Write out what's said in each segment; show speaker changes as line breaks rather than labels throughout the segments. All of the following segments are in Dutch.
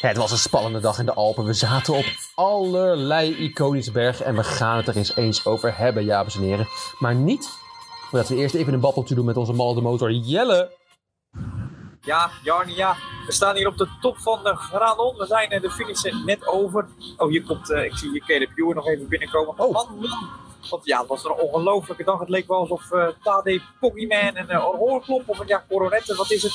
Het was een spannende dag in de Alpen. We zaten op allerlei iconische bergen. En we gaan het er eens eens over hebben, dames en heren. Maar niet voordat we eerst even een babbeltje doen met onze man op de motor, Jelle.
Ja, Jarni, ja. We staan hier op de top van de Granon. We zijn eh, de finish net over. Oh, hier komt, eh, ik zie hier Caleb Ewer nog even binnenkomen.
Oh.
Man, man. Want ja, het was een ongelofelijke dag. Het leek wel alsof eh Tade Poggyman en eh Oorklop of een ja, Coronette, wat is het?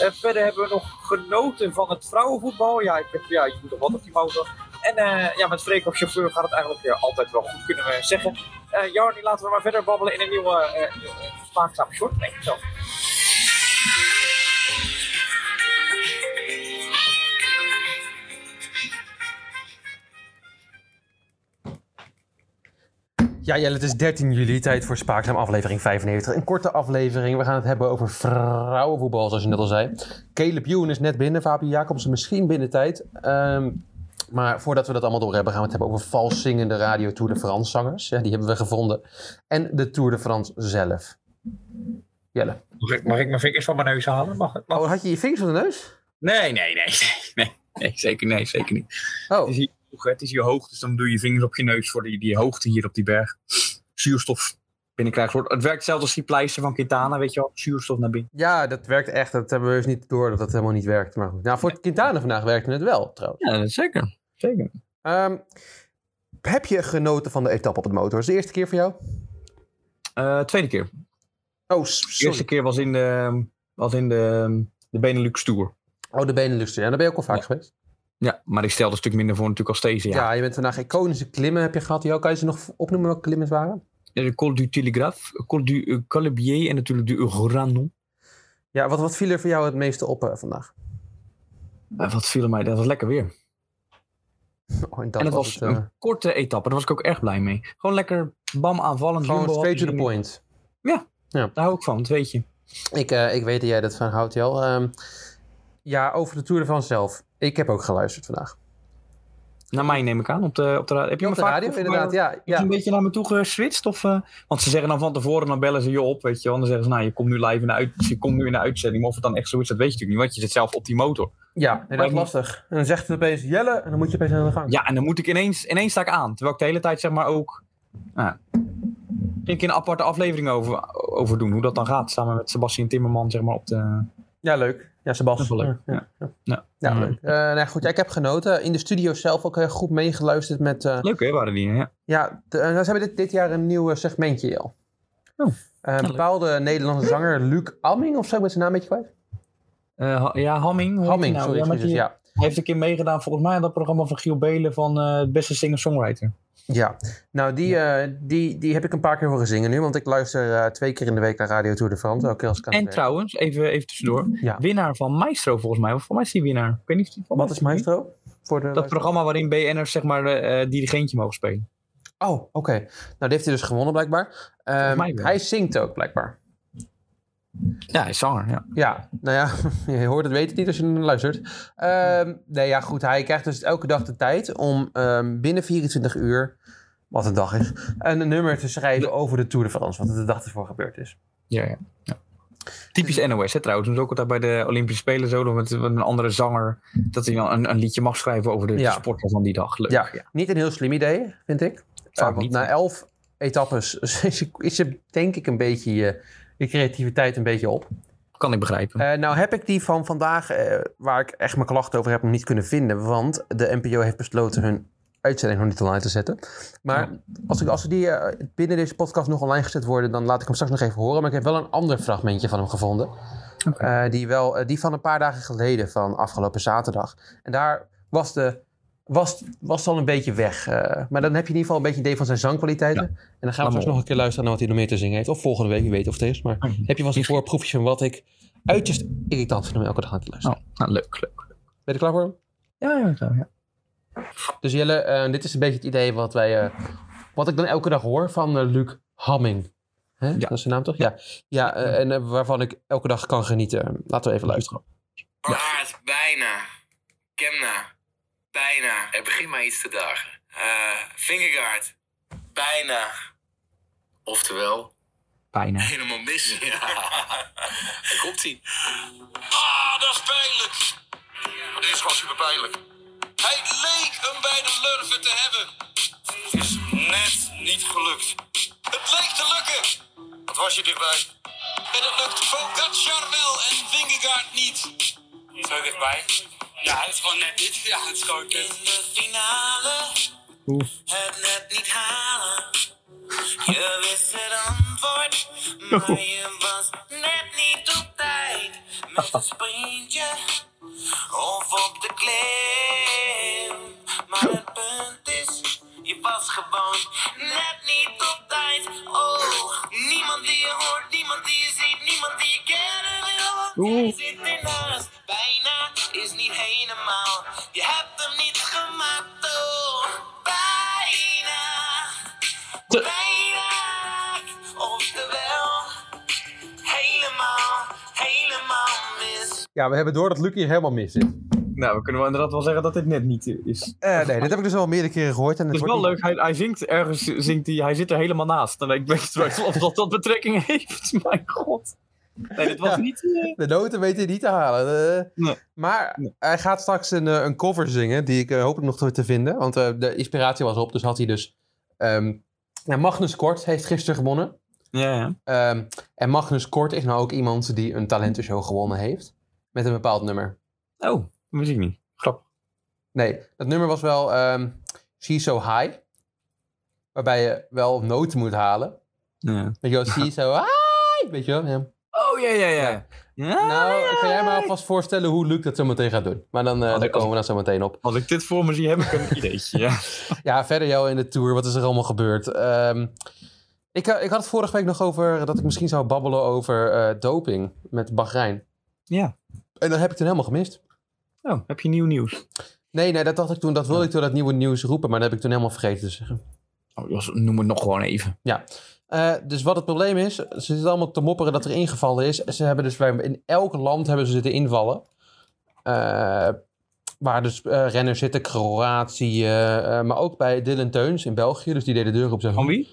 Eh, verder hebben we nog genoten van het vrouwenvoetbal. Ja, ik, heb, ja, ik moet nog wat op die motor. En eh, ja, met Freek als chauffeur gaat het eigenlijk eh, altijd wel goed, kunnen we zeggen. Eh Jarni, laten we maar verder babbelen in een nieuwe eh, nieuw, eh, spaakzaam short, denk ik zo.
Ja, Jelle, het is 13 juli, tijd voor Spaakzaam aflevering 95. Een korte aflevering. We gaan het hebben over vrouwenvoetbal, zoals je net al zei. Caleb Ewan is net binnen, Fabio Jacobsen misschien binnen tijd. Ehm, maar voordat we dat allemaal door hebben, gaan we het hebben over vals zingende radio Tour de France zangers. Ja, die hebben we gevonden. En de Tour de France zelf. Jelle.
Mag ik, mag ik mijn vingers van mijn neus halen? Mag, mag,
Oh, had je je vingers op de neus?
Nee, nee, nee, nee, nee, nee, zeker, nee, zeker niet. Het
Oh,
is, hier hoog, hè, het is hier hoog, dus dan doe je vingers op je neus voor die, die hoogte hier op die berg. Zuurstof binnenkrijgt. wordt- Het werkt hetzelfde als die pleister van Quintana, weet je wel. Zuurstof naar binnen.
ja, dat werkt echt. Dat hebben we dus niet door dat dat helemaal niet werkt. Maar goed. Nou, voor Quintana vandaag werkte het wel, trouwens.
Ja, zeker. Zeker.
Ehm, heb je genoten van de etappe op het motor? Is het de eerste keer voor jou?
Eh, tweede keer.
Oh,
De eerste
sorry.
keer was in de, was in de, de Benelux Tour.
Oh, de Benelux. Ja, daar ben je ook al vaak geweest.
Ja, maar ik stelde een stuk minder voor natuurlijk als deze
Ja.
jaar.
je bent vandaag iconische klimmen heb je gehad. Die ook. Kan je ze nog opnoemen welke klimmen het waren?
Ja. De Col du Telegraphe, Col du eh, Calibier en natuurlijk de Granon.
Ja, wat, wat viel er voor jou het meeste op eh, vandaag?
Eh, wat viel mij, dat was lekker weer.
Oh, en dat
en dat was,
was het, eh,
een korte etappe. Daar was ik ook erg blij mee. Gewoon lekker bam aanvallend.
gewoon
jumbo
straight to the
hadden.
point.
Daar hou ik van, dat weet je.
Ik, eh, ik weet dat jij dat van houdt, Jel. Ehm, ja, over de Tour de France zelf. Ik heb ook geluisterd vandaag.
Naar mij neem ik aan, op de, op de radio. Heb je
op de
me vaak-
radio,
of,
inderdaad.
eh,
Ja,
Is
ja.
een beetje naar me toe geswitcht? Of, eh, want ze zeggen dan van tevoren, dan bellen ze je op, weet je. wel. En dan zeggen ze, nou, je komt nu live in de, uit, je komt nu in de uitzending. Maar of het dan echt zo is, dat weet je natuurlijk niet. Want je zit zelf op die motor.
ja en dat is lastig. En dan zegt het opeens Jelle en dan moet je opeens aan de gang.
Ja, en dan moet ik ineens, ineens sta ik aan. Terwijl ik de hele tijd zeg maar ook... Nou, ging ik een aparte aflevering over, over doen. Hoe dat dan gaat. Samen met Sebastian Timmerman, zeg maar, op de...
Ja, leuk. Ja, Sebas.
Dat is wel leuk,
Ja, ja.
Ja.
Ja,
Mm.
leuk. Eh, nou ja, goed, ja, ik heb genoten. In de studio zelf ook heel goed meegeluisterd met... eh,
Leuk, hè, waren die, ja.
ja, de- eh, ze hebben dit, dit jaar een nieuw eh, segmentje al.
Oh,
een
leuk.
bepaalde Nederlandse zanger, Luc Amming of zo, ik ben zijn naam een beetje kwijt.
Eh, ha- ja, Hamming. hoe heet die
Amming,
nou?
sorry,
Ja, met
excuses,
die-
ja.
Hij heeft een keer meegedaan, volgens mij, aan dat programma van Giel Belen van eh, het Beste Singer-Songwriter.
Ja, nou die, eh, die, die heb ik een paar keer horen zingen nu, want ik luister eh, twee keer in de week naar Radio Tour de France. Elke keer als ik aan het
En
werk-
trouwens, even, even tussendoor.
Ja.
Winnaar van Maestro, volgens mij. Volgens mij is die winnaar. Ik weet niet of die van
Wat is Maestro? Voor de
Dat programma waarin BN'ers, zeg maar, eh eh, dirigentje mogen spelen.
Oh, oké. Nou, die heeft hij dus gewonnen blijkbaar. Ehm,
mij wel.
hij zingt ook blijkbaar.
Ja, hij is zanger, ja.
Ja, nou ja, je hoort het, weet het niet als je er naar luistert. Ehm, nee, ja, goed. Hij krijgt dus elke dag de tijd om ehm, binnen 24 uur, wat een dag is, een nummer te schrijven over de Tour de France, wat er de dag ervoor gebeurd is.
ja, ja. ja.
Eh.
Typisch NOS, hè, trouwens. Dat is ook altijd bij de Olympische Spelen zo. dan Met met een andere zanger. Dat hij dan een, een liedje mag schrijven over de,
Ja.
de sporter van die dag. Leuk.
Ja. Niet een heel slim idee, vind ik.
Vaak
Eh, want
niet.
na elf etappes is, is er denk ik een beetje je, je creativiteit een beetje op.
Kan ik begrijpen.
Eh, nou heb ik die van vandaag, eh, waar ik echt mijn klachten over heb, nog niet kunnen vinden. Want de NPO heeft besloten hun uitzending nog niet online te zetten. Maar als, ik, als die eh, binnen deze podcast nog online gezet worden, dan laat ik hem straks nog even horen. Maar ik heb wel een ander fragmentje van hem gevonden.
Oké.
Eh, die, wel, eh, die van een paar dagen geleden, van afgelopen zaterdag. En daar was de... Was, was al een beetje weg. eh, maar dan heb je in ieder geval een beetje idee van zijn zangkwaliteiten. En dan gaan we
Laat
straks
me
nog een keer luisteren naar wat hij nog meer te zingen heeft. Of volgende week, wie weet of het is. Maar
Mhm.
heb je wel eens een voorproefje van wat ik uiterst irritant vind om elke dag aan te luisteren.
Oh, nou, leuk, leuk.
Ben je er klaar voor?
Ja, ja, ja. ja.
Dus Jelle, eh, dit is een beetje het idee wat wij, eh, wat ik dan elke dag hoor van eh, Luc Hamming. Hè?
Ja.
Dat is zijn naam toch? Ja. Ja, eh, en eh, waarvan ik elke dag kan genieten. Laten we even luisteren.
Klaar Ah, is bijna. Kemna. Bijna. Er begint maar iets te dagen. Eh Fingergaard. Bijna. Oftewel,
Bijna.
helemaal mis. Ja. Daar komt ie. Ah, daar speel ik.
Dit is gewoon super pijnlijk. Hij leek hem bij de lurven te hebben. Het is net niet gelukt. Het leek te lukken. Wat was je dichtbij? En het lukt Pogacar wel en Vingegaard niet. Zo dichtbij. Ja, het is gewoon net niet. Ja, het is gewoon net.
In de finale het net niet halen. Je wist het antwoord, maar je was net niet op tijd. Met een sprintje of op de klim. Maar het punt is, je was gewoon net niet op tijd. Oh, niemand die je hoort, niemand die je ziet, niemand die je kent. Jij zit ernaast, bijna is niet helemaal. Je hebt hem niet gemaakt, oh, bijna. Bijna, oftewel, helemaal, helemaal mis.
Ja, we hebben door dat Luc hier helemaal mis zit.
Nou, we kunnen wel inderdaad wel zeggen dat dit net niet eh, is.
Eh, nee, dit heb ik dus al meerdere keren gehoord. En het
Het is
wordt
wel
niet-
leuk, hij, hij zingt ergens, zingt hij, hij zit er helemaal naast. En ik weet straks of dat, dat betrekking heeft, mijn god. Nee, dit was
Ja.
niet... eh,
De noten weet hij niet te halen. Eh,
Nee.
Maar
Nee.
hij gaat straks een, eh, een cover zingen, die ik eh, hoop ik nog te- te vinden. Want eh, de inspiratie was op, dus had hij dus... ehm, nou, Magnus Kort heeft gisteren gewonnen.
Ja, ja.
Ehm, en Magnus Kort is nou ook iemand die een talentenshow gewonnen heeft. Met een bepaald nummer.
Oh, dat wist ik niet. Grappig.
Nee, dat nummer was wel ehm She's So High. Waarbij je wel noten moet halen.
Ja.
Weet je wel, She's So High. Weet je wel, ja.
Oh, ja, ja, ja. ja.
Nou, ik kan jij me alvast voorstellen hoe Luc dat zo meteen gaat doen. Maar dan, eh,
Oh,
daar
dat-
komen we dan zo meteen op.
Als ik dit voor me zie, heb ik een ideetje. Ja.
Ja, verder jou in de tour. Wat is er allemaal gebeurd? Ehm, ik, eh, ik had het vorige week nog over dat ik misschien zou babbelen over eh, doping met Bahrein.
Ja.
En dat heb ik toen helemaal gemist.
Oh, heb je nieuw nieuws?
Nee, nee, dat dacht ik toen. Dat wilde ik toen dat nieuwe nieuws roepen, maar dat heb ik toen helemaal vergeten te zeggen.
Oh, Jos, noem het nog gewoon even.
Eh, dus wat het probleem is, ze zitten allemaal te mopperen dat er ingevallen is. Ze hebben dus bij, in elk land hebben ze zitten invallen. Eh, waar dus eh, renners zitten, Kroatië, eh, maar ook bij Dylan Teuns in België. Dus die deed de deur op. Zei,
Van wie?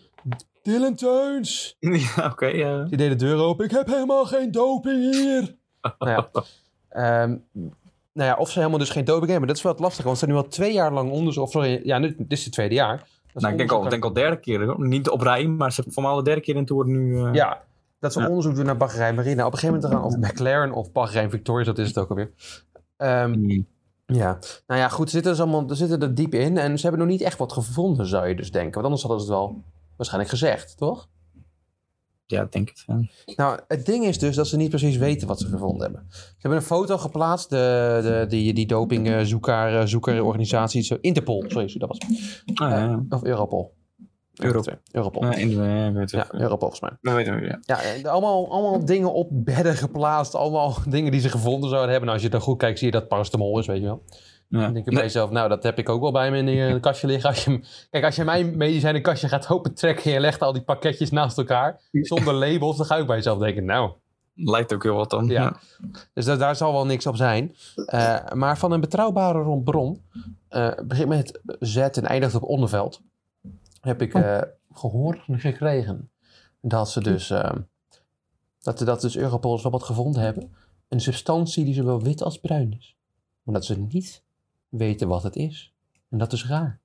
Dylan Teuns!
Ja, oké. ja.
Die deed de deur open. Ik heb helemaal geen doping hier. nou, ja. Ehm, nou ja, of ze helemaal dus geen doping hebben. Dat is wel het lastige. Want ze zijn nu al twee jaar lang onderzoek. Of sorry, ja, nu, dit is het tweede jaar. Dat is
Nou, ik denk al,
onderzoek-
denk al derde keer. hoor. Niet op rij, maar ze hebben voor mij al de derde keer in toer nu. eh,
Ja, dat ze
Ja.
onderzoek doen naar Bahrein Marina. Op een gegeven moment gaan of McLaren of Bahrein Victorious, dat is het ook alweer. Ehm, ja, nou ja, goed, ze zitten, dus allemaal, ze zitten er diep in en ze hebben nog niet echt wat gevonden, zou je dus denken. Want anders hadden ze het wel waarschijnlijk gezegd, toch?
Ja, ik denk het. ja.
Nou, het ding is dus dat ze niet precies weten wat ze gevonden hebben. Ze hebben een foto geplaatst, de, de, die, die dopingzoeker, eh, zoekerorganisatie, zo- Interpol, sorry, dat was het.
Ah, ja, ja.
Of Europol. eh,
Europol.
Europol.
Ja, in de- ja, weet het.
Ja, Europol volgens mij.
Dat weten we, ja.
Ja, en allemaal, allemaal dingen op bedden geplaatst. Allemaal dingen die ze gevonden zouden hebben. Nou, als je dan goed kijkt, zie je dat paracetamol is, weet je wel.
Ja.
Dan denk je bij jezelf, nou, dat heb ik ook wel bij me in een eh, kastje liggen. Als je, kijk, als je mijn medicijnenkastje gaat opentrekken en je legt al die pakketjes naast elkaar, zonder labels, dan ga ik bij jezelf denken, nou...
Lijkt ook heel wat dan.
Ja. Dus da- daar zal wel niks op zijn. Eh, maar van een betrouwbare bron, eh begint met Z en eindigt op Onderveld, heb ik eh, gehoord en gekregen dat ze dus, eh, dat, dat dus Europolers wel wat gevonden hebben. Een substantie die zowel wit als bruin is. Maar dat ze niet weten wat het is. En dat is raar.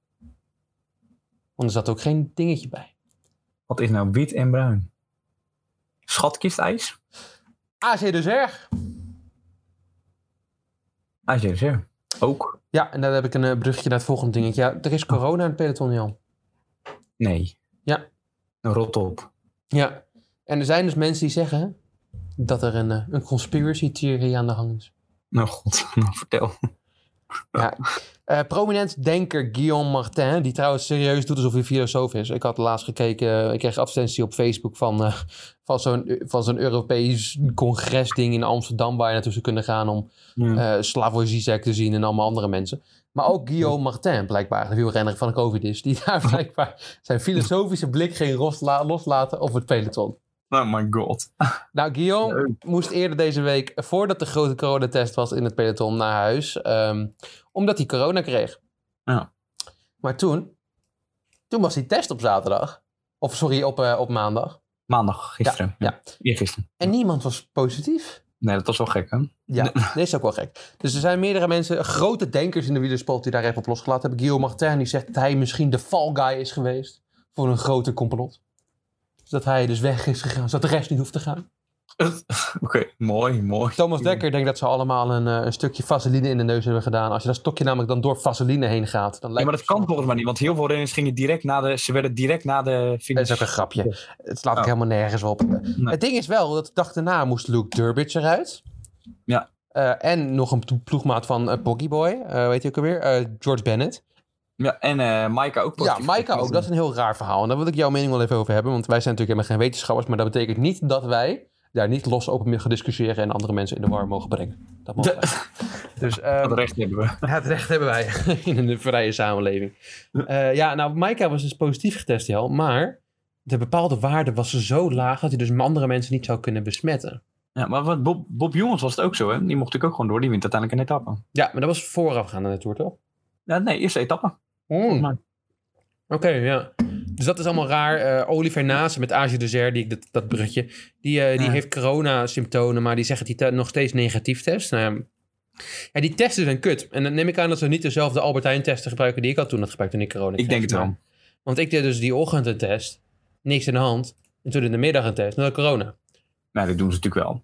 Want er zat ook geen dingetje bij.
Wat is nou wit en bruin? Schatkistijs?
AC dus erg.
Ah, ja, ja. Ook?
Ja, en daar heb ik een eh, bruggetje naar het volgende dingetje. Ja, er is corona in het peloton, Jan.
Nee.
Ja.
Rot op.
Ja, en er zijn dus mensen die zeggen dat er een, eh, een conspiracy theory aan de gang is.
Nou god, nou vertel.
Eh, prominent denker Guillaume Martin, die trouwens serieus doet alsof hij filosoof is. Ik had laatst gekeken, eh, ik kreeg advertentie op Facebook van, eh, van zo'n van zo'n Europees congresding in Amsterdam waar je naartoe zou kunnen gaan om
Ja.
eh Slavoj Zizek te zien en allemaal andere mensen. Maar ook Guillaume Martin, blijkbaar, de wielrenner van de COVID is, die daar blijkbaar zijn filosofische blik geen losla- loslaten over het peloton.
Oh my god.
Nou, Guillaume moest eerder deze week, voordat de grote coronatest was in het peloton, naar huis. ehm, omdat hij corona kreeg.
Ja.
Maar toen, toen was die test op zaterdag. Of sorry, op, eh, op maandag.
Maandag, gisteren.
Ja, ja.
Ja, gisteren.
En niemand was positief.
Nee, dat was wel gek, hè?
Ja, dat is ook wel gek. Dus er zijn meerdere mensen, grote denkers in de wielersport, die daar even op losgelaten hebben. Guillaume Martin die zegt dat hij misschien de fall guy is geweest voor een groter complot. Dus dat hij dus weg is gegaan, zodat de rest niet hoeft te gaan.
Oké, mooi, mooi.
Thomas Dekker denkt dat ze allemaal een, eh, een stukje vaseline in de neus hebben gedaan. Als je dat stokje namelijk dan door vaseline heen gaat, dan
Ja,
lijkt
maar dat kan volgens mij niet, want heel veel renners gingen direct na de... Ze werden direct na de
Dat
finish...
is ook een grapje. Het slaat ook
Oh.
helemaal nergens op. Het ding is wel, dat de dag daarna moest Luke Durbridge eruit.
Ja.
Eh, en nog een plo- ploegmaat van eh, Poggy Boy, eh, weet je ook alweer? Eh, George Bennett.
Ja, en eh Maaike ook.
Ja,
positief
Maaike ook.
getest.
Dat is een heel raar verhaal. En daar wil ik jouw mening wel even over hebben. Want wij zijn natuurlijk helemaal geen wetenschappers. Maar dat betekent niet dat wij daar niet los open mee gaan discussiëren. En andere mensen in de war mogen brengen. Dat mag Dus ehm,
Dat recht hebben we.
het recht hebben wij in een vrije samenleving. Eh, ja, nou, Maaike was dus positief getest, Jel. Maar de bepaalde waarde was zo laag dat hij dus andere mensen niet zou kunnen besmetten.
Ja, maar wat, Bob, Bob Jongens was het ook zo, hè? Die mocht ik ook gewoon door. Die wint uiteindelijk een etappe.
Ja, maar dat was voorafgaand aan de Tour, toch?
Ja, nee, eerste etappe.
Mm. Oké,
Maar-
ja. Dus dat is allemaal raar. Eh, Oliver Nase met Azië Desert, die, ik- dat, dat brugje, die, eh, die
Ja.
heeft corona-symptomen, maar die zegt dat hij te- nog steeds negatief test. Nou, ja. ja, die testen zijn kut. En dan neem ik aan dat ze niet dezelfde Albert Heijn-testen gebruiken die ik had toen had gebruikt toen ik corona
Ik denk het wel.
Want ik deed dus die ochtend een test, niks in de hand. En toen in de middag een test, nou corona.
Nee, Nou, dat doen ze natuurlijk wel.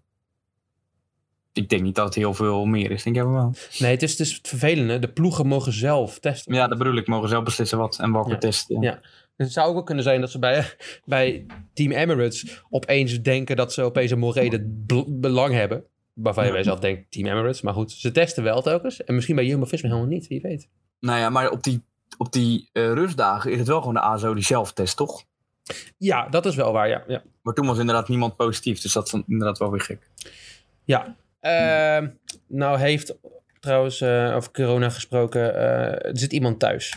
Ik denk niet dat het heel veel meer is. Ik heb wel.
Nee, het is, het is het vervelende. De ploegen mogen zelf testen.
Ja, dat bedoel ik. Mogen zelf beslissen wat en welke
Ja.
test. Ja.
Ja. Dus het zou ook wel kunnen zijn dat ze bij, bij Team Emirates opeens denken dat ze opeens een morele bl- belang hebben. Waarvan je
Ja.
bij zelf denkt, Team Emirates. Maar goed, ze testen wel telkens. En misschien bij Jumbo-Visma helemaal niet, wie weet.
Nou ja, maar op die, op die eh, rustdagen is het wel gewoon de ASO die zelf test, toch?
Ja, dat is wel waar, ja. ja.
Maar toen was inderdaad niemand positief. Dus dat is dan inderdaad wel weer gek.
ja. Ehm, nou heeft trouwens, eh, over corona gesproken, eh, er zit iemand thuis.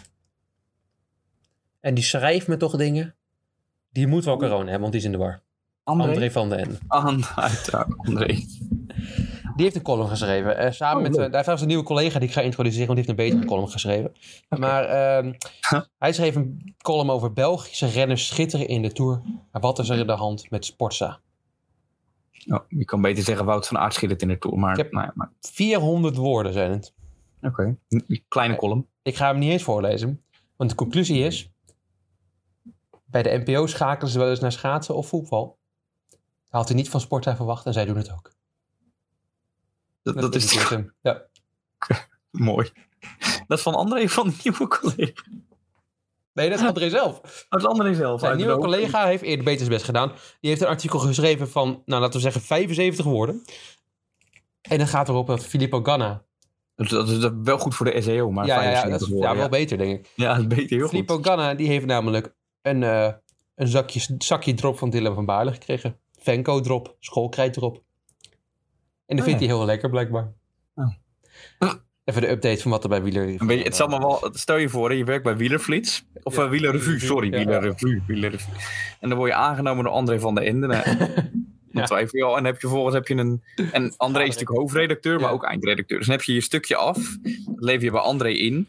En die schrijft me toch dingen. Die moet wel corona hebben, want die is in de war.
André?
André van den Ende.
Ah, uiteraard, André.
Die heeft een column geschreven. eh, samen
Oh,
met
leuk.
eh, daar
Mm.
heeft trouwens een nieuwe collega die ik ga introduceren, want die heeft een betere column geschreven. Maar ehm, hij schreef een column over Belgische renners schitteren in de Tour. Maar wat is er in de hand met Sportza?
Oh, je kan beter zeggen Wout van Aert schittert in de Tour. Maar,
Ik heb-
nou ja, maar
400 woorden zijn het.
oké. Een Kleine column.
Ik ga hem niet eens voorlezen, want de conclusie is... Bij de NPO schakelen ze wel eens naar schaatsen of voetbal. Dat had hij niet van Sportza verwacht en zij doen het ook.
Dat, dat is
het. hem. Ja.
mooi. Dat is van André van de nieuwe collega.
Nee, dat is André zelf.
Dat is André zelf.
Zijn
uit de
nieuwe
dood.
collega heeft eerder beter zijn best gedaan. Die heeft een artikel geschreven van, nou laten we zeggen, 75 woorden. En dan gaat erop dat Filippo Ganna.
Dat, dat is wel goed voor de SEO, maar
ja, ja, ja,
75
dat is
woorden,
ja, wel beter, denk ik.
Ja, dat beter heel
Filippo
goed.
Ganna, die heeft namelijk een, eh, een zakje, zakje drop van Dylan van Baarle gekregen. Venco drop, schoolkrijt drop. En dat
Oh,
vindt hij heel lekker, blijkbaar.
Oh.
Even de update van wat er bij Wieler...
Een beetje, het is allemaal wel, stel je voor, hè, je werkt bij Wielerflits. Of
Ja,
eh, Wielerrevue,
Wielerrevue,
sorry.
ja.
Wielerrevue, Wielerrevue. En dan word je aangenomen door André van der Ende. Nou,
Ja.
Dan twijfel je al. En heb je vervolgens heb je een... En André is natuurlijk hoofdredacteur, maar
Ja.
ook eindredacteur. Dus dan heb je je stukje af. Dat lever je bij André in.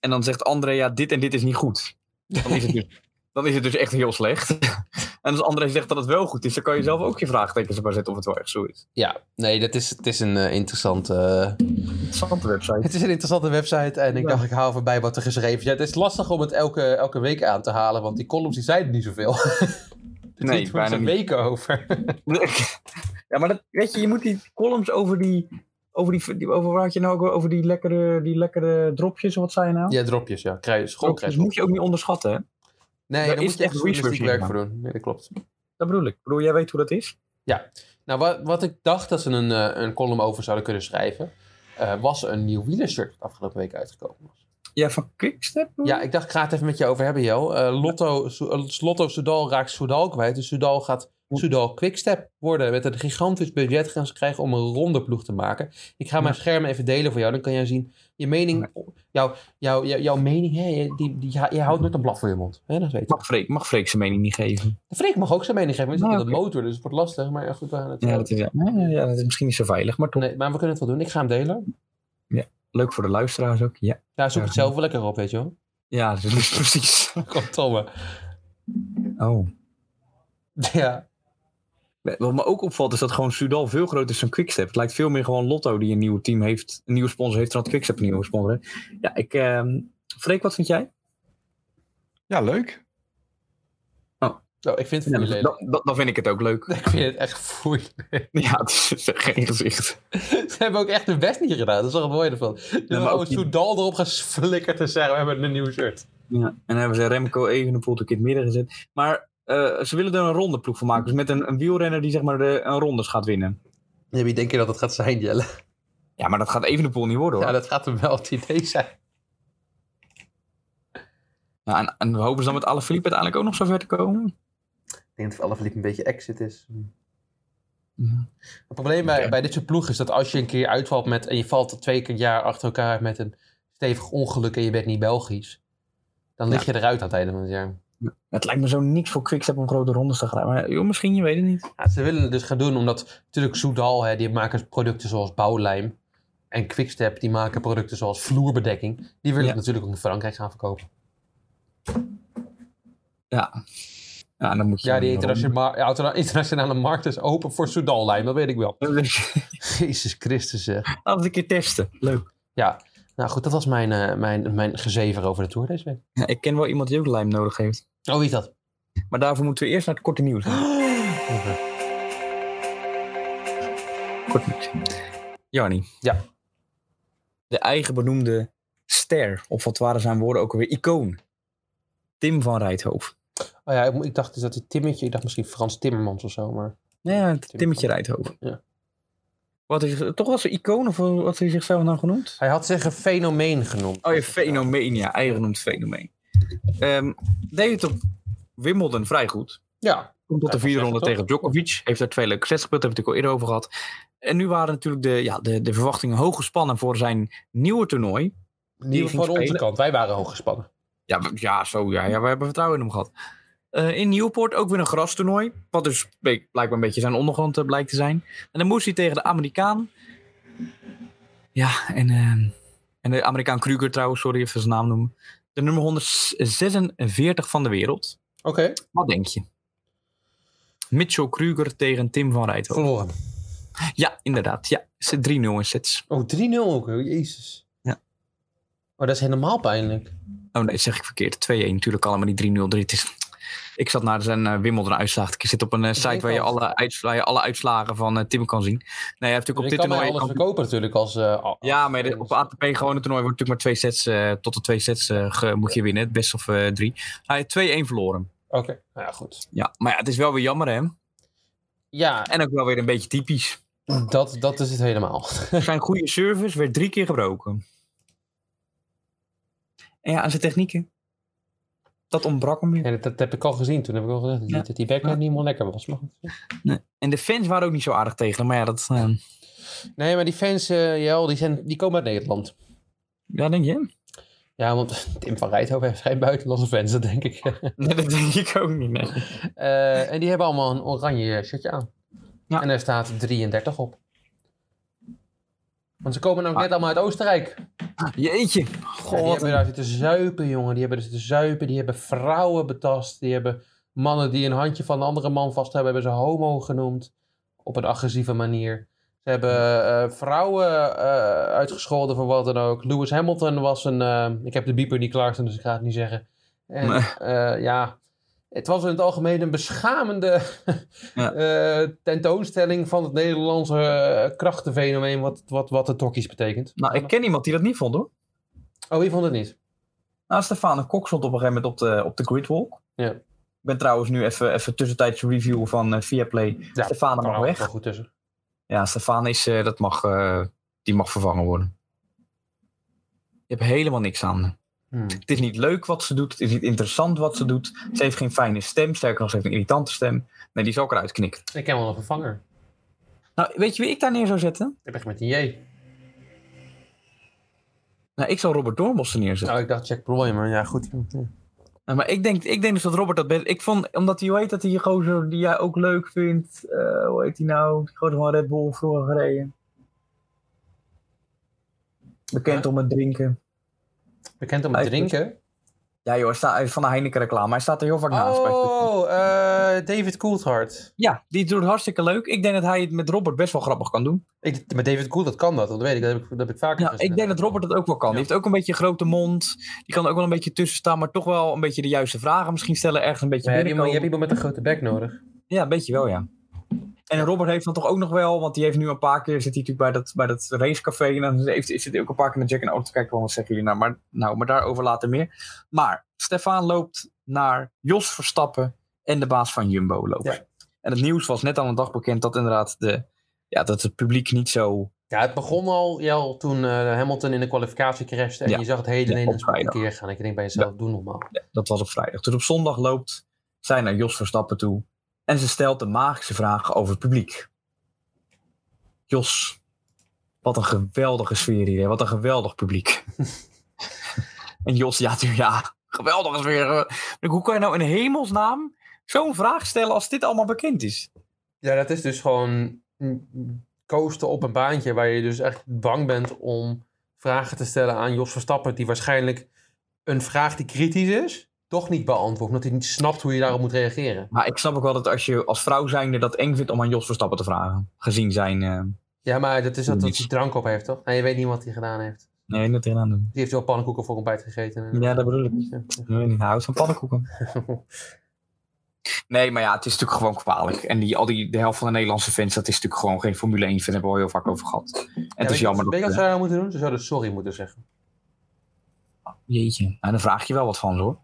En dan zegt André, ja, dit en dit is niet goed. Dan is het dus, dan is het dus echt heel slecht. En als André zegt dat het wel goed is, dan kan je zelf ook je vraagtekens erbij zetten of het wel echt zo is.
Ja, nee, dat is, het is een eh, interessante... eh,
Interessante website.
Het is een interessante website en ik
Ja.
dacht, ik haal voorbij wat er geschreven is. Ja, het is lastig om het elke, elke week aan te halen, want die columns die zeiden niet zoveel.
Nee,
nee, doen
bijna
ze
niet.
weken over.
Ja, maar dat, weet je, je moet die columns over die. Over die, die- over waar had je nou ook wel- over die lekkere, die lekkere dropjes, wat zei je nou?
ja, dropjes, ja. Krijg,
dropjes
schoolkrijs.
moet je ook niet onderschatten, hè?
Nee, daar
Daar is
moet je echt
echt
journalistiek
research in
werk voor doen. Nee, dat klopt.
Dat bedoel ik. Ik bedoel, jij weet hoe dat is?
Nou, wat, wat ik dacht dat ze een, eh, een column over zouden kunnen schrijven, eh, was een nieuw wielershirt dat afgelopen week uitgekomen was.
Ja, van Quickstep? bedoel
Ja,
je?
ik dacht, ik ga het even met je over hebben, Jo. Eh, Lotto, Su- eh, Lotto Soudal raakt Soudal kwijt, dus Soudal gaat Soudal Quickstep worden. Met een gigantisch budget gaan ze krijgen om een ronde ploeg te maken. Ik ga mijn scherm even delen voor jou, dan kan jij zien je mening. Jouw, jouw, jouw, jouw mening, hè, je- die, die, je houdt nooit een blad voor je mond. Hè, dat weet ik.
Mag Freek, mag Freek zijn mening niet geven?
Freek mag ook zijn mening geven, maar hij zit
Nou,
aan de motor, dus het wordt lastig. Maar ja, goed, we gaan het...
Ja, dat is, ja, ja, dat is misschien niet zo veilig, maar toch
Nee, maar we kunnen het wel doen. Ik ga hem delen.
leuk voor de luisteraars ook. Ja,
Daar zoek
Ja.
het zelf wel lekker op, weet je wel.
ja dat is precies.
Kom, Tomme.
Oh.
Ja.
Wat me ook opvalt is dat gewoon Sudal veel groter is dan Quickstep. Het lijkt veel meer gewoon Lotto die een nieuw team heeft, een nieuwe sponsor heeft, dan dat Quickstep een nieuwe sponsor heeft. Ja, ik... ehm Freek, wat vind jij?
Ja, leuk.
Nou, ik vind het niet lelijk.
dan, dan- dan vind ik het ook leuk.
Ik vind het echt foei.
Ja, het is geen gezicht.
Ze hebben ook echt hun best niet gedaan. Dat is wel het mooie ervan. Ze hebben
maar ook
gewoon
niet.
Soudal erop geflikkerd en zeggen we hebben een nieuw shirt.
Ja, en dan hebben ze Remco Evenepoel ook in het midden gezet. Maar eh, ze willen er een rondeploeg van maken. Dus met een, een wielrenner die zeg maar de, een rondes gaat winnen.
Ja, wie denk je dat het gaat zijn, Jelle?
Ja, maar dat gaat Evenepoel niet worden hoor.
Ja, dat gaat hem wel het idee zijn.
Nou, en, en we hopen ze dan met Alaphilippe uiteindelijk ook nog zo ver te komen.
Ik denk dat Alaphilippe een beetje exit is.
Ja.
Het probleem bij, bij dit soort ploegen is dat als je een keer uitvalt met... en je valt twee keer een jaar achter elkaar met een stevig ongeluk... en je bent niet Belgisch, dan lig je eruit aan het einde van het jaar.
Het lijkt me zo niks voor Quickstep om grote rondes te gaan rijden. Maar joh, misschien, je weet het niet.
Ja, ze willen het dus gaan doen omdat natuurlijk Soudal, hè, die maken producten zoals bouwlijm... en Quickstep, die maken producten zoals vloerbedekking. Die willen
Ja.
het natuurlijk ook in Frankrijk gaan verkopen.
Ja, dan moet je
Ja, die internationale, ja, interna- internationale markt is open voor Soudal-lijm, dat weet ik wel. Jezus Christus, zeg.
Laten we het een keer testen. Leuk.
Ja, nou goed, dat was mijn, eh, mijn, mijn gezever over de Tour deze week.
Ja, ik ken wel iemand die ook lijm nodig heeft.
Oh, wie is dat?
Maar daarvoor moeten we eerst naar het korte nieuws. Kort nieuws. Jarnie.
Ja.
De eigen benoemde ster, of wat waren zijn woorden ook alweer, icoon. Tim van Rijthoofd.
Oh ja, ik, mo- ik dacht dus dat die Timmetje, ik dacht misschien Frans Timmermans of zo, maar...
Ja,
van-
Timmetje Rijthoofd.
Ja.
Wat is toch was een icoon, of wat heeft hij zichzelf nou genoemd?
Hij had zich een fenomeen genoemd.
Oh ja, fenomeen, ja. Eigen genoemd fenomeen. Ehm, deed het op Wimbledon vrij goed.
Ja,
Komt tot de
Ja,
vierde
dat is
ronde
echt
tegen Djokovic. Heeft daar twee leuke sets gespeeld. Daar hebben we het natuurlijk al eerder over gehad. En nu waren natuurlijk de, ja, de, de verwachtingen hoog gespannen voor zijn nieuwe toernooi.
die
ging
van onze
spelen.
kant. Wij waren hooggespannen.
Ja, we- ja zo ja. ja. We hebben vertrouwen in hem gehad. Eh, in Newport ook weer een grastoernooi. Wat dus blijk- blijkbaar een beetje zijn ondergrond eh, blijkt te zijn. En dan moest hij tegen de Amerikaan. Ja, en, ehm, en de Amerikaan Kruger trouwens. Sorry, even zijn naam noemen. De nummer 146 van de wereld.
Oké,
Wat denk je? Mitchell Kruger tegen Tim van Rijthoven.
verloren.
Ja, inderdaad. Ja, Ze- 3-0 in sets.
Oh, 3-0 ook, oh, jezus.
Ja.
Oh, dat is helemaal pijnlijk.
Oh nee, dat zeg ik verkeerd. 2-1. Natuurlijk allemaal die 3-0. Dit is... Ik zat naar zijn eh Wimbledon uitslag. Ik zit op een eh, site waar je,
kan-
alle uits- waar je alle uitslagen van eh, Tim kan zien. Nee, hij heeft natuurlijk op
Ik
dit
kan mij
toernooi...
alles
kan-
verkopen natuurlijk als... eh, al-
Ja, maar de- op ATP gewone toernooi wordt natuurlijk maar twee sets, eh, tot de twee sets eh, ge- moet je winnen. Het best of eh, drie. Hij heeft 2-1 verloren.
Oké, nou ja, goed.
Ja, maar ja, het is wel weer jammer hè.
Ja,
En ook wel weer een beetje typisch.
dat, dat is het helemaal.
Zijn goede service werd drie keer gebroken. En ja, aan zijn technieken. Dat ontbrak hem weer.
En dat, dat heb ik al gezien. Toen heb ik al gezegd dat die-
Ja.
dat die backhand niet helemaal lekker was. Maar goed.
En de fans waren ook niet zo aardig tegen hem. Maar ja, dat... eh,
Nee, maar die fans, eh Jel, die, zijn, die komen uit Nederland.
ja, denk je?
Ja, want Tim van Rijthoven heeft geen buitenlandse fans, dat denk ik.
Nee, dat denk ik ook niet, nee.
Eh, en die hebben allemaal een oranje shirtje aan.
Ja.
En daar staat 33 op. Want ze komen namelijk net
Ah.
allemaal uit Oostenrijk. Ja,
Jeetje.
die
God.
hebben daar zitten zuipen, jongen. Die hebben er zitten zuipen, die hebben vrouwen betast. Die hebben mannen die een handje van een andere man vast hebben, hebben ze homo genoemd. Op een agressieve manier. Ze hebben eh, vrouwen eh, uitgescholden voor wat dan ook. Lewis Hamilton was een... eh, ik heb de bieper niet klaar, staan, dus ik ga het niet zeggen. En
Nee.
eh, ja, het was in het algemeen een beschamende
Ja.
eh, tentoonstelling... van het Nederlandse eh, krachtenfenomeen, wat, wat, wat de tokkies betekent.
nou, ik ken iemand die dat niet vond, hoor.
Oh, wie vond het niet?
Nou, Stefane Kok stond op een gegeven moment op de, op de gridwalk.
Ja.
Ik ben trouwens nu even, even tussentijdse review van eh, Viaplay.
Ja,
Stefane mag
Kan er wel
weg.
goed tussen.
Ja, Stefane is, eh, dat mag, eh, die mag vervangen worden. Je hebt helemaal niks aan.
Hmm.
Het is niet leuk wat ze doet. Het is niet interessant wat ze doet. Ze heeft geen fijne stem. Sterker nog, ze heeft een irritante stem. Nee, die zal ik eruit knikken.
Ik ken wel een vervanger.
Nou, weet je wie ik daar neer zou zetten?
Ik begin met een J.
Nou, ik zou Robert Dormos er neerzetten.
Nou, ik dacht Jack Broy, maar ja, goed.
Nou, maar ik denk, ik denk dus dat Robert dat best... Ik vond, omdat hij, hoe heet dat, die gozer die jij ook leuk vindt. eh, hoe heet die nou? Die gozer van Red Bull, vroeger gereden. Bekend
Huh?
om het drinken.
Bekend om het
Eigenlijk.
drinken.
Ja joh, hij staat- van de Heineken reclame. Hij staat er heel vaak naast. bij Twitter.
Oh, eh, David Coulthard.
Ja, die doet het hartstikke leuk. Ik denk dat hij het met Robert best wel grappig kan doen.
Ik, maar David Coulthard kan dat, dat weet ik. Dat heb ik, dat heb ik vaker
Ja,
gezien.
Nou, ik denk dat Robert dat ook wel kan. Die heeft ook een beetje een grote mond. Die kan ook wel een beetje tussen staan, maar toch wel een beetje de juiste vragen misschien stellen. Ergens een beetje
Maar je, hebt iemand, je
binnenkomen.
hebt iemand met een grote bek nodig.
Ja, een beetje wel, ja. En Robert heeft dan toch ook nog wel, want die heeft nu een paar keer, zit hij natuurlijk bij dat, bij dat racecafé. En dan heeft, zit hij ook een paar keer met Jack en Auto te kijken, van, wat zeggen jullie nou? Maar, nou, maar daarover later meer. Maar Stefan loopt naar Jos Verstappen en de baas van Jumbo loopt.
Ja.
En het nieuws was net al een dag bekend dat inderdaad de, ja, dat het publiek niet zo...
Ja, het begon al, ja, al toen eh, Hamilton in de kwalificatie crashte. En
Ja.
je zag het hele
Ja,
in
op
een spoed een
vrijdag.
keer gaan. Ik denk bij jezelf, doe normaal.
Dat was op vrijdag. Dus op zondag loopt zij naar Jos Verstappen toe. En ze stelt de magische vraag over het publiek. Jos, wat een geweldige sfeer hier. hè. Wat een geweldig publiek. en Jos, ja, tuurlijk, ja, geweldige sfeer. Ik denk, Hoe kan je nou in hemelsnaam zo'n vraag stellen als dit allemaal bekend is?
Ja, dat is dus gewoon mm, mm, coasten op een baantje waar je dus echt bang bent om vragen te stellen aan Jos Verstappen, die waarschijnlijk een vraag die kritisch is, toch niet beantwoordt, omdat hij niet snapt hoe je daarop moet reageren.
Maar ik snap ook wel dat als je als vrouw zijnde dat eng vindt om aan Jos Verstappen te vragen. Gezien zijn... eh,
Ja, maar dat is dat, dat
Niks.
hij drank op heeft, toch? En je weet niet wat hij gedaan heeft.
nee, dat tegenaan doen.
Die heeft wel pannenkoeken voor ontbijt gegeten. en-
Ja, dat bedoel ik. Ik weet niet, hij houdt van pannenkoeken. nee, maar ja, het is natuurlijk gewoon kwalijk. En die, al die, de helft van de Nederlandse fans, dat is natuurlijk gewoon geen Formule 1 fan. Daar hebben we al heel vaak over gehad. En
Ja,
het
weet
is
je
jammer
wat-
dat...
Weet je wat ze daar moeten doen? Ze zouden sorry moeten zeggen.
Jeetje. Nou, daar vraag je wel wat van, hoor.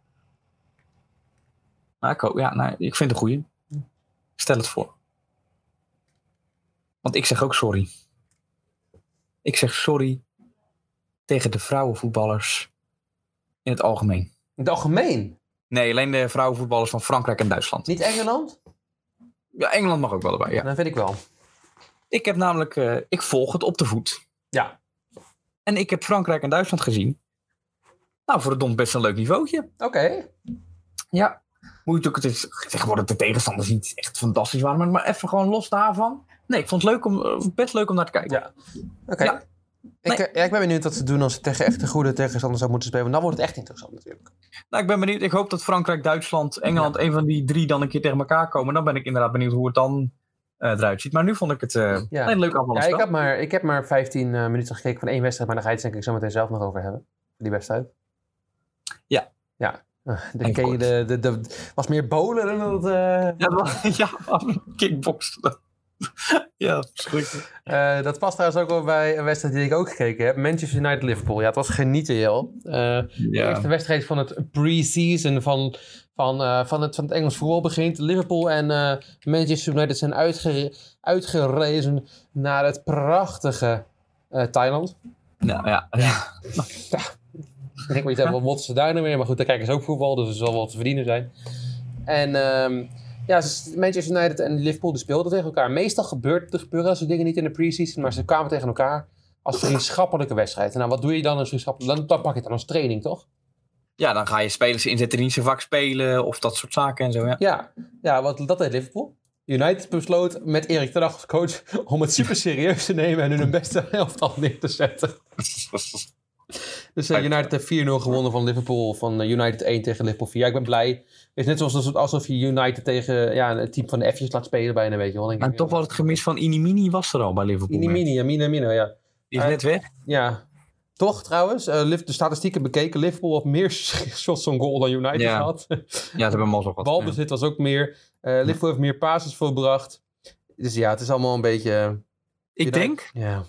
Nou, ik, hoop- ja, nou, ik vind het een goeie. Stel het voor. Want ik zeg ook sorry. Ik zeg sorry tegen de vrouwenvoetballers in het algemeen.
In het algemeen.
Nee, alleen de vrouwenvoetballers van Frankrijk en Duitsland.
Niet Engeland? Nou,
Ja, Engeland mag ook wel erbij, ja.
Dat vind ik wel.
Ik heb namelijk, eh, ik volg het op de voet.
Ja.
En ik heb Frankrijk en Duitsland gezien. Nou, voor het dom best een leuk niveautje.
Oké.
Ja. Moet je natuurlijk, het is, tegenwoordig de tegenstanders niet echt fantastisch waren, maar, maar even gewoon los daarvan. Nee, ik vond het leuk om, eh, best leuk om naar te kijken.
Ja. Oké.
Ja.
Ik, eh, ja, ik ben benieuwd wat ze doen als ze tegen echt een goede tegenstander zou moeten spelen. Want dan wordt het echt interessant natuurlijk.
Nou, ik ben benieuwd. Ik hoop dat Frankrijk, Duitsland, Engeland, een van die drie dan een keer tegen elkaar komen. Dan ben ik inderdaad benieuwd hoe het dan eh, eruit ziet. Maar nu vond ik het eh,
Ja.
een leuk afval.
Ja, ik, heb maar, ik heb maar 15 eh, minuten gekeken van één wedstrijd, maar daar ga je het denk ik zo meteen zelf nog over hebben. Die wedstrijd.
Ja.
Ja. Ah, Dan
En
ken je de, de, de, was meer bowlen dan dat... eh,
Ja, dat- ja, kickboksen. ja, verschrikkelijk.
eh, dat past trouwens ook wel bij een wedstrijd die ik ook gekeken heb. Manchester United-Liverpool. Ja, het was genieten, joh. Eh, De eerste wedstrijd van het pre-season van, van, eh, van, het, van het Engels voetbal begint. Liverpool en eh, Manchester United zijn uitgere- uitgerezen naar het prachtige eh, Thailand.
Nou ja, ja.
Ik denk maar niet helemaal wat ze daar nou weer. Maar goed, daar kijken ze ook voetbal, dus er zal wel te verdienen zijn. En ehm, ja, ze- Manchester United en Liverpool die speelden tegen elkaar. Meestal gebeurt, er gebeuren dat soort dingen niet in de pre-season, maar ze kwamen tegen elkaar als vriendschappelijke wedstrijd. En nou, wat doe je dan als vriendschappelijk? Dan, dan pak je het dan als training, toch?
ja, dan ga je spelers inzetten die niet zo vaak spelen of dat soort zaken en zo. Ja.
Ja, ja want dat deed Liverpool. United besloot met Erik ten Hag als coach om het super serieus te nemen en hun hun beste helft al neer te zetten. Dus eh, United heeft 4-0 gewonnen van Liverpool, van eh, United 1 tegen Liverpool 4. Ja, ik ben blij. Het is net zoals alsof- alsof je United tegen ja, het team van de F'jes laat spelen bijna, weet je wel. Dan denk
En
ik,
toch wel het gemis van Inimini was er al bij Liverpool. hè.
Inimini, Amina, Amino, ja.
Die is net weg.
Ja. Toch trouwens, eh, Liv- de statistieken bekeken, Liverpool had meer shots on goal dan United
Ja.
had.
Ja, ze hebben mazzel gehad. Ja.
Balbezit was ook meer. Eh Liverpool heeft meer passes voorbracht. Dus ja, het is allemaal een beetje... eh,
Ik
United-
denk
Ja.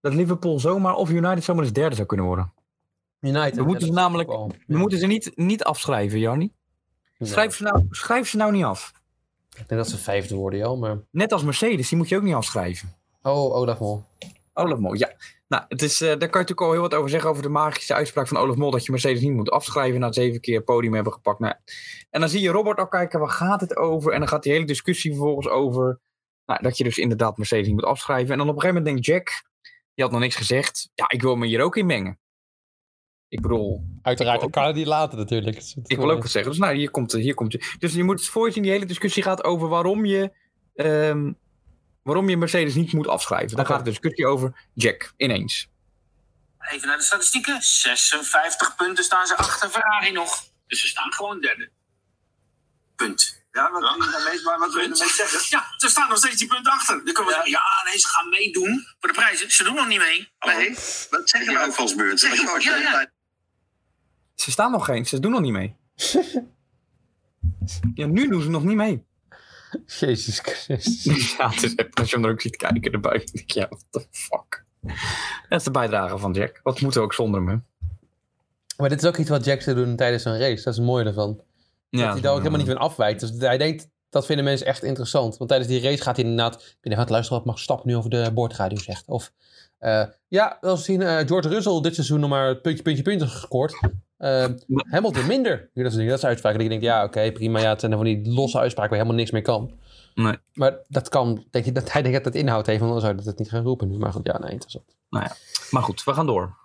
dat Liverpool zomaar of United zomaar eens derde zou kunnen worden.
United.
We moeten
ja,
ze
dat
namelijk-
ook wel.
We
Ja.
moeten ze niet, niet afschrijven, Jarni.
Nee.
Schrijf, ze nou, schrijf ze nou niet af.
Ik denk dat ze vijfde worden, joh. Maar...
Net als Mercedes, die moet je ook niet afschrijven.
Oh, Olaf Mol.
Oh, Olaf Mol, ja. Nou, het is, eh, daar kan je natuurlijk al heel wat over zeggen over de magische uitspraak van Olaf Mol. Dat je Mercedes niet moet afschrijven na het zeven keer podium hebben gepakt. Nou, en dan zie je Robert al kijken, waar gaat het over? En dan gaat die hele discussie vervolgens over nou, dat je dus inderdaad Mercedes niet moet afschrijven. En dan op een gegeven moment denkt Jack, die had nog niks gezegd. Ja, ik wil me hier ook in mengen. Ik bedoel,
Uiteraard,
dat
kan die later natuurlijk.
ik wil ook wat zeggen. Dus nou, hier komt, hier komt je. Dus je moet het voor je zien, die hele discussie gaat over waarom je, ehm, waarom je Mercedes niet moet afschrijven. Daar
Oké.
gaat de discussie over Jack, ineens.
Even naar de statistieken. 56 punten staan ze achter Ferrari nog. Dus ze staan gewoon derde. Punt.
Ja, wat wil je daarmee, maar wat wil je
Punt.
daarmee zeggen?
Ja, ze staan nog steeds die punten achter. Dan kunnen we
Ja.
zeggen, ja, nee, ze gaan meedoen voor de prijzen. Ze doen nog niet mee. Nee.
Wat zeggen we ook als beurt?
Zeg je ook, ja, ja.
Ze staan nog geen, ze doen nog niet mee. ja, nu doen ze nog niet mee.
Jezus Christus.
Ja, het is echt, als je hem er ook ziet kijken erbij, denk ik, ja, what the fuck. Dat is de bijdrage van Jack. Wat moeten we ook zonder me?
Maar dit is ook iets wat Jack zou doen tijdens een race. Dat is het mooie ervan.
Ja,
dat hij daar ook helemaal niet van afwijkt. Dus hij denkt, dat vinden mensen echt interessant. Want tijdens die race gaat hij inderdaad... Ik ben even aan het luisteren wat Max Stap nu over de boordradio zegt. Of, eh, ja, wel eens zien, eh, George Russell dit seizoen nog maar puntje, puntje, puntje gescoord. Eh, Hamilton minder. Ja, dat, is, dat zijn uitspraken die ik denk, ja, oké, prima. Ja, het zijn dan van die losse uitspraken waar helemaal niks meer kan.
Nee.
Maar dat kan, denk je, dat hij denkt dat dat inhoud heeft, want dan zou hij dat niet gaan roepen nu. Maar goed, ja, nee, interessant.
Maar goed, we gaan door.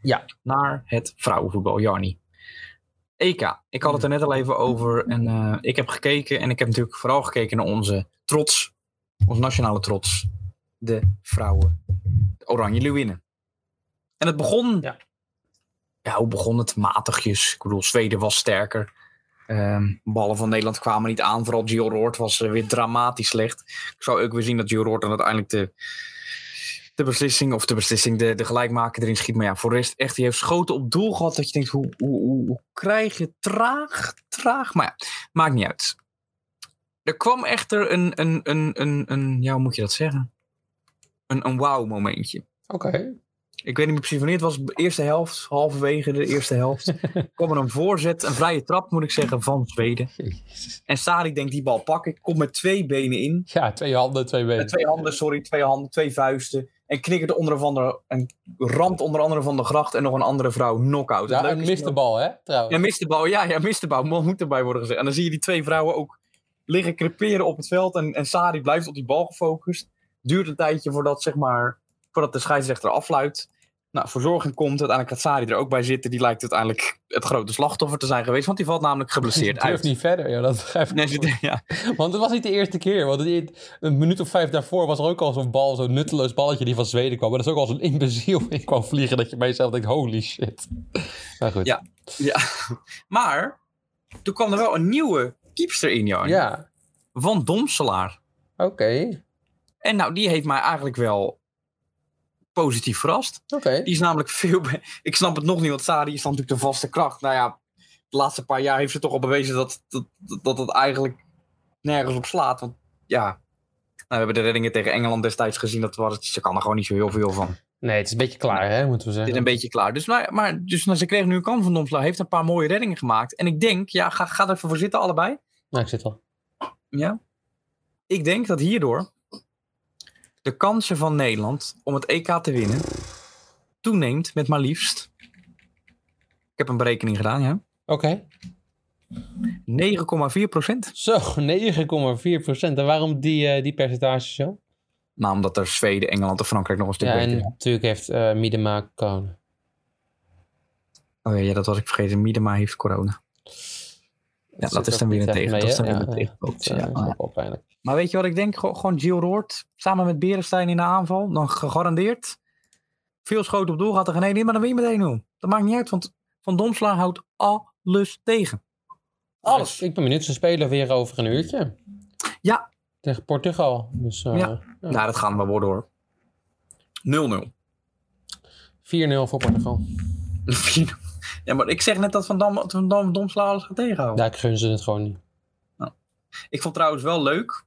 Ja.
Naar het vrouwenvoetbal, Jarni. EK. Ik had het er net al even over. En eh, ik heb gekeken. En ik heb natuurlijk vooral gekeken naar onze trots. Ons nationale trots. De vrouwen. De Oranje Leeuwinnen. En het begon...
Ja.
Ja, hoe begon het? Matigjes. Ik bedoel, Zweden was sterker. Ehm, ballen van Nederland kwamen niet aan. Vooral Gio Roord was eh, weer dramatisch slecht. Ik zou ook weer zien dat Gio Roord dan uiteindelijk de de beslissing, of de beslissing, de, de gelijkmaker erin schiet. Maar ja, voor de rest echt, die heeft schoten op doel gehad. Dat je denkt, hoe, hoe, hoe, hoe krijg je traag, traag. Maar ja, maakt niet uit. Er kwam echter een, een, een, een, een ja, hoe moet je dat zeggen? Een, een wauw momentje.
Oké.
Ik weet niet meer precies wanneer het was. De eerste helft, halverwege de eerste helft. kwam er een voorzet, een vrije trap moet ik zeggen, van Zweden. En Sari denkt, die bal pak ik. Komt met twee benen in.
Ja, twee handen, twee
Met
benen.
twee handen, sorry, twee handen, twee vuisten. En knikkert onder of andere, en ramt onder andere van de gracht en nog een andere vrouw knock-out. Het
Ja, en
leuke is
mist de
wel-
bal, hè, trouwens.
Ja, mist de bal. Ja, ja, mist de bal. Mo- Moet erbij worden gezegd. En dan zie je die twee vrouwen ook liggen creperen op het veld. En, en Sari blijft op die bal gefocust. Duurt een tijdje voordat, zeg maar, voordat de scheidsrechter afluit. Nou, verzorging komt. Uiteindelijk gaat Sari er ook bij zitten. Die lijkt uiteindelijk het grote slachtoffer te zijn geweest. Want die valt namelijk geblesseerd
durft
uit.
niet verder, ja, dat begrijp ik.
Nee, ze- ja,
Want het was niet de eerste keer. Want het- een minuut of vijf daarvoor was er ook al zo'n bal, zo'n nutteloos balletje die van Zweden kwam. Maar dat is ook al zo'n imbeciel in kwam vliegen dat je bij jezelf denkt, holy shit. Maar goed.
Ja. Maar toen kwam er wel een nieuwe keepster in, Jan.
Ja,
Van Domselaar.
oké.
En nou, die heeft mij eigenlijk wel positief verrast.
Oké.
Die is namelijk veel... be- Ik snap het nog niet, want Sari is dan natuurlijk de vaste kracht. Nou ja, de laatste paar jaar heeft ze toch al bewezen dat dat, dat, dat het eigenlijk nergens op slaat. Want ja, nou, we hebben de reddingen tegen Engeland destijds gezien. Dat was, het- ze kan er gewoon niet zo heel veel van.
Nee, het is een beetje klaar, hè, moeten we
Het is
zeggen.
een beetje klaar. Dus, nou, ja, maar, dus nou, ze kreeg nu een kans van Domselaar. Heeft een paar mooie reddingen gemaakt. En ik denk, ja, ga, ga er even voor zitten allebei.
Nou, ik zit al.
Ja. Ik denk dat hierdoor de kansen van Nederland om het EK te winnen toeneemt met maar liefst. Ik heb een berekening gedaan, ja.
Oké.
9,4 procent.
Zo, 9,4 procent. En waarom die, eh, die percentage zo?
Nou, omdat er Zweden, Engeland en Frankrijk nog een stuk
Ja,
beter
en
zijn.
natuurlijk heeft eh Miedema corona.
Oh ja, ja, dat was ik vergeten. Miedema heeft corona. Ja, dat
zit
is
ook
dan weer
niet
een
echt
tegen.
mee,
dat is
hè?
dan weer
Ja, ja.
een
Dat
tegenpootje,
eh,
ja.
is ook wel pijnlijk.
Maar weet je wat ik denk? Gewoon, gewoon Gio Roord samen met Berenstein in de aanval. Dan gegarandeerd. Veel schoten op doel gaat er geen één in, maar dan win je meteen 1-0. Dat maakt niet uit, want Van Domslaan houdt alles tegen. Alles.
Ik ben benieuwd, ze spelen weer over een uurtje.
Ja.
Tegen Portugal. Dus eh,
Ja. Nou, dat gaan we worden hoor. 0-0.
4-0 voor Portugal.
Ja, maar ik zeg net dat Van, Dam, dat Van Dam, Domslaan alles gaat tegenhouden.
Ja, ik gun ze het gewoon niet.
Ik vond trouwens wel leuk.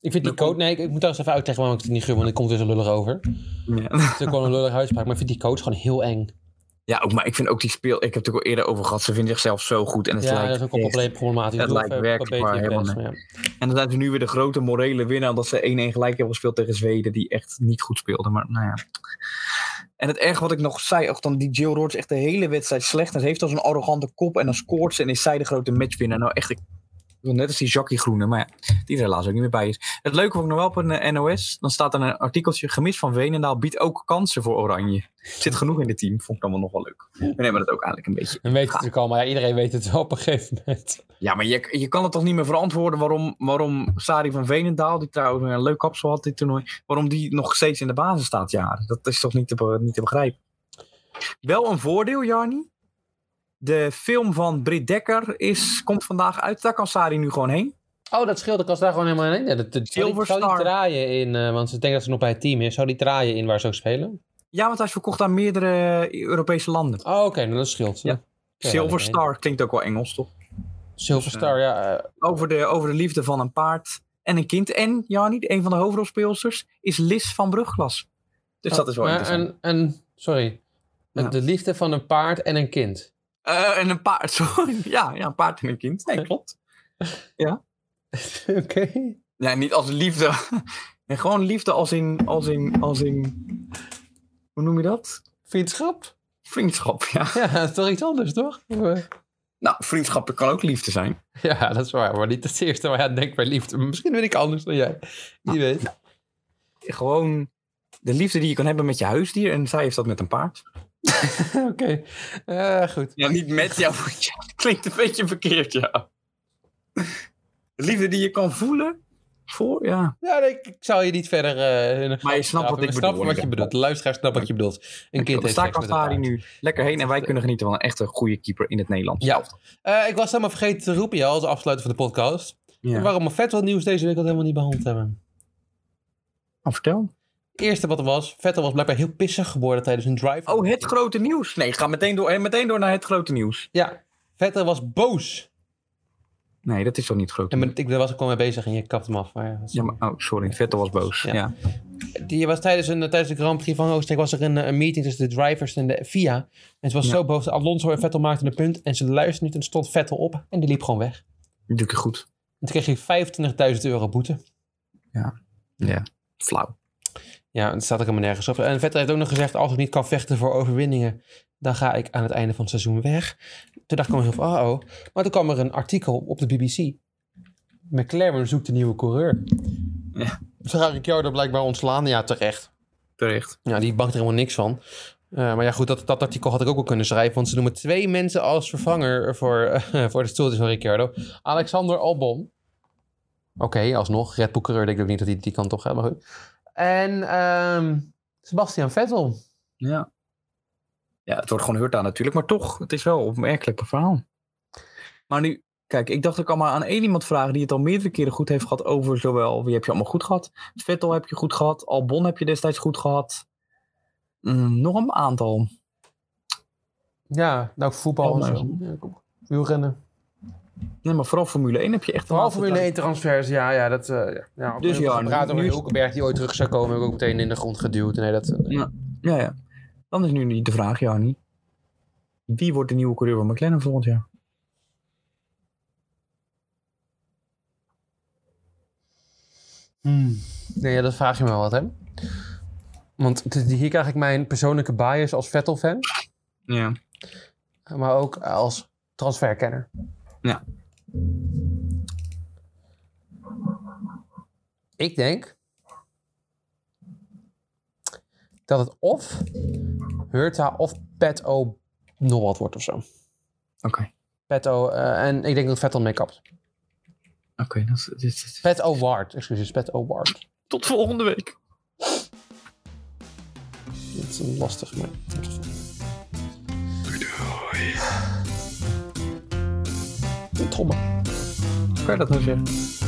Ik vind die
Dan
coach... Nee, ik, ik moet trouwens even uitleggen waarom ik het niet gun, want ik kom weer zo lullig over. Het
Ja.
is ook wel een lullig uitspraak, maar ik vind die coach gewoon heel eng.
ook, maar ik vind ook die speel... Ik heb het natuurlijk al eerder over gehad. Ze vinden zichzelf zo goed. En het
ja, dat
lijkt
is ook wel
echt-
probleem- problematisch.
Het
Doe
lijkt
even
werkelijk
een beetje
waar
je
helemaal
best, maar
En dan zijn ze nu weer de grote morele winnaar. Omdat ze 1-1 gelijk hebben gespeeld tegen Zweden. Die echt niet goed speelden. Maar nou ja. En het erg wat ik nog zei. Ook dan die Jill Roord is echt de hele wedstrijd slecht. En ze heeft al zo'n arrogante kop. En dan scoort ze. En is zij de grote matchwinnaar. Nou echt. Ik, wil net als die Jackie Groene. Maar ja. Die er helaas ook niet meer bij is. Het leuke vond ik nog wel op een eh, NOS. Dan staat er een artikeltje. Gemis van Venendaal biedt ook kansen voor Oranje. Zit genoeg in het team. Vond ik allemaal nog wel leuk. We nemen dat ook eigenlijk een beetje.
Dan weet het natuurlijk allemaal. Ja, iedereen weet het wel op een gegeven moment.
Ja, maar je, je kan het toch niet meer verantwoorden waarom, waarom Sari van Veenendaal, die trouwens een leuk kapsel had dit toernooi, waarom die nog steeds in de basis staat jaren. Dat is toch niet te, be- niet te begrijpen. Wel een voordeel, Jarni. De film van Britt Dekker is, komt vandaag uit. Daar kan Sari nu gewoon heen.
Oh, dat scheelt. Ik was daar gewoon helemaal in. Ja, dat, dat- zou, die,
Silver
zou die
Star.
draaien in, eh, want ik denk dat ze nog bij het team is, zou die draaien in waar ze ook spelen?
Ja, want hij is verkocht aan meerdere Europese landen.
Oh, oké, nou, dat scheelt.
Ja.
Ja,
Silver
ja, ja.
Star klinkt ook wel Engels, toch?
Silver Star, ja. eh,
Over de, over de liefde van een paard en een kind. En, Jarni, een van de hoofdrolspeelsters is Liz van Brugglas. Dus dat is wel
Oh, maar
interessant.
een, een, Sorry.
Ja.
De liefde van een paard en een kind.
Eh, en een paard, sorry. Ja, ja, een paard en een kind. Nee, klopt.
oké.
Nee, niet als liefde. Nee, gewoon liefde als in, als in, als in... Hoe noem je dat?
Vriendschap?
Vriendschap, ja.
Ja, dat is toch iets anders, toch?
Nou, vriendschap kan ook liefde zijn.
Ja, dat is waar. Maar niet het eerste waar je aan denkt bij liefde. Misschien ben ik anders dan jij.
Ah.
Wie weet.
Gewoon de liefde die je kan hebben met je huisdier. En zij heeft dat met een paard.
oké. Eh, goed.
Ja, niet met jou. want ja, dat klinkt een beetje verkeerd, ja. De liefde die je kan voelen. Voor, ja.
Ja, nee, ik, ik zal je niet verder... eh,
Maar je snapt wat
we
ik
snappen
bedoel,
wat je
ja.
bedoelt. De luisteraar snapt wat je bedoelt. Een kind
Dan
heeft
sta ik
seks
als
met een
Tari
paard.
nu lekker heen. En wij kunnen genieten van een echte goede keeper in het Nederlands.
Ja. Eh, ik was helemaal vergeten te roepen, ja, als afsluiten van de podcast.
ja.
Waarom we Vettel nieuws deze week al helemaal niet behandeld hebben.
Nou, vertel.
eerste wat er was, Vettel was blijkbaar heel pissig geworden tijdens een drive.
Oh, het grote nieuws. Nee, ga meteen door, eh, meteen door naar het grote nieuws.
Ja, Vettel was boos.
Nee, dat is toch niet het grote
En
nieuws?
ben- ik daar was ik al mee bezig en je kapt hem af. Maar ja, dat is-
Ja, maar, oh, sorry. Vettel was boos.
Ja.
Ja.
Die was tijdens, een, tijdens de Grand Prix van Oostenrijk was er een, eh, een meeting tussen de drivers en de FIA. En ze was
Ja.
zo boos. Alonso en Vettel maakten een punt en ze luisterden niet en stond Vettel op en die liep gewoon weg.
Natuurlijk goed.
En toen kreeg hij 25.000 euro boete.
Flauw.
Ja, dat staat ook helemaal nergens op. En Vettel heeft ook nog gezegd, als ik niet kan vechten voor overwinningen, dan ga ik aan het einde van het seizoen weg. Toen dacht ik al heel van, oh, oh. Maar toen kwam er een artikel op de BBC. McLaren zoekt een nieuwe coureur.
Ja.
Ferrari Ricciardo blijkbaar ontslaan. Ja, terecht.
Terecht.
Ja, die bankt er helemaal niks van. Eh, maar ja, goed, dat, dat artikel had ik ook wel kunnen schrijven. Want ze noemen twee mensen als vervanger voor, eh, voor de stoeltjes van Ricciardo. Alexander Albon. Oké, alsnog. Red Bull coureur, denk ik ook niet dat hij die kant op gaat, maar goed. En ehm Sebastian Vettel.
Ja. Ja, het wordt gewoon aan natuurlijk, maar toch, het is wel een opmerkelijk verhaal. Maar nu, kijk, ik dacht ook allemaal aan één iemand vragen die het al meerdere keren goed heeft gehad over zowel wie heb je allemaal goed gehad. Vettel heb je goed gehad, Albon heb je destijds goed gehad. Mm, nog een aantal.
Ja, nou voetbal
Helemaal.
en zo. Ja, kom. Wielrennen.
Nee, maar vooral Formule 1 heb je echt de
Vooral
laatste
Formule
tijd-
1 transfers, ja, ja, dat... eh, ja. ja,
Dus ja,
we praten
nu
over
is-
Hulkenberg die ooit terug zou komen, heb ik ook meteen in de grond geduwd. Nee, dat...
Ja, ja. Dan is nu niet de vraag, Jarni. Wie wordt de nieuwe coureur van McLaren volgend jaar?
Nee, ja, dat vraag je me wel wat, hè? Want het is- hier krijg ik mijn persoonlijke bias als Vettel-fan,
Ja.
maar ook als transferkenner.
Ja.
Ik denk dat het of Hurta of Petto nog wat wordt of zo.
Oké.
Petto, eh, en ik denk dat Vettel mee kapt.
Oké, dat is- dit is-
Petto Ward, excuses, Petto Ward.
tot volgende week.
Dat is een lastig, maar... Doei doei. Een trommel.
Kan je dat nou zeggen?